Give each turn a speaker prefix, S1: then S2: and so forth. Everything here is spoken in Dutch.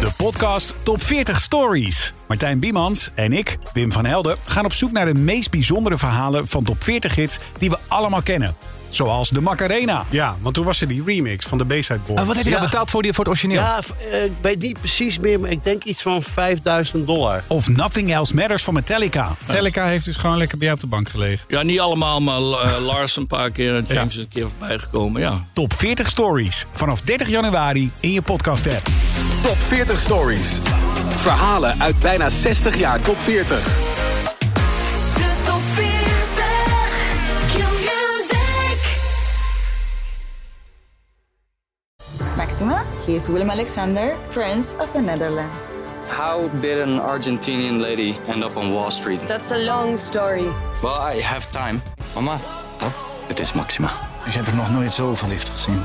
S1: De podcast Top 40 Stories. Martijn Biemans en ik, Wim van Helden, gaan op zoek naar de meest bijzondere verhalen van Top 40 hits die we allemaal kennen. Zoals de Macarena. Oh,
S2: Ja, want toen was er die remix van de Bayside Boys.
S1: wat heb je dan betaald voor, die, voor het origineel?
S2: Ja, v- eh, ik weet niet precies meer, maar ik denk iets van 5000 dollar.
S1: Of Nothing Else Matters van Metallica.
S3: Teleka heeft dus gewoon lekker bij jou op de bank gelegen.
S4: Ja, niet allemaal, maar eh, Lars een paar keer en James een keer voorbij gekomen. Ja.
S1: Top 40 Stories. Vanaf 30 januari in je podcast app.
S5: Top 40 Stories. Verhalen uit bijna 60 jaar Top 40.
S6: De top 40. Q-Music.
S7: Maxima. He is Willem Alexander, Prince of the Netherlands.
S8: How did an Argentinian lady end up on Wall Street?
S9: That's a long story.
S8: Well, I have time.
S10: mama,
S8: Het is Maxima.
S11: Ik heb er nog nooit zo verliefd gezien.